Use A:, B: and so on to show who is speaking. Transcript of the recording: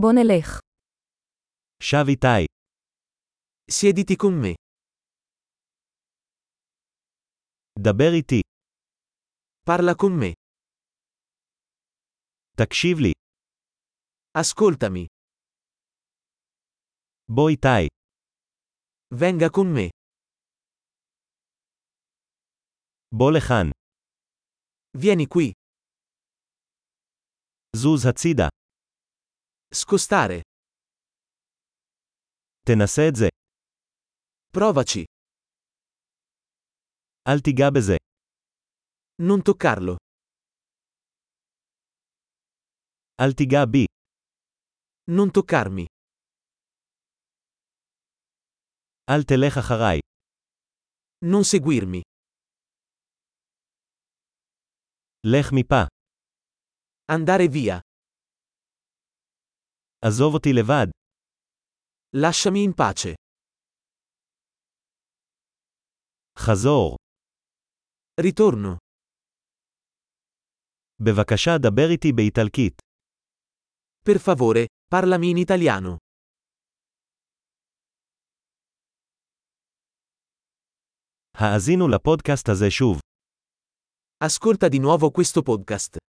A: בוא נלך.
B: שב איתי.
C: Siediti con me.
B: דבר איתי.
C: Parla con me.
B: תקשיב לי.
C: Ascoltami.
B: בוא איתי.
C: Venga con me.
B: בוא לכאן.
C: Vieni qui.
B: זוז הצידה.
C: Scostare.
B: תנסה את זה.
C: Provaci.
B: אל תיגע בזה.
C: Non toccarlo.
B: אל תיגע בי.
C: Non toccarmi.
B: אל תלך אחריי.
C: Non seguirmi.
B: לך מפה.
C: Andare via.
B: עזוב אותי לבד.
C: Lasciami in pace.
B: חזור.
C: Ritorno.
B: בבקשה דבר איתי באיטלקית.
C: Per favore, parlami in italiano.
B: האזינו לפודקאסט הזה שוב.
C: Ascolta di nuovo questo podcast.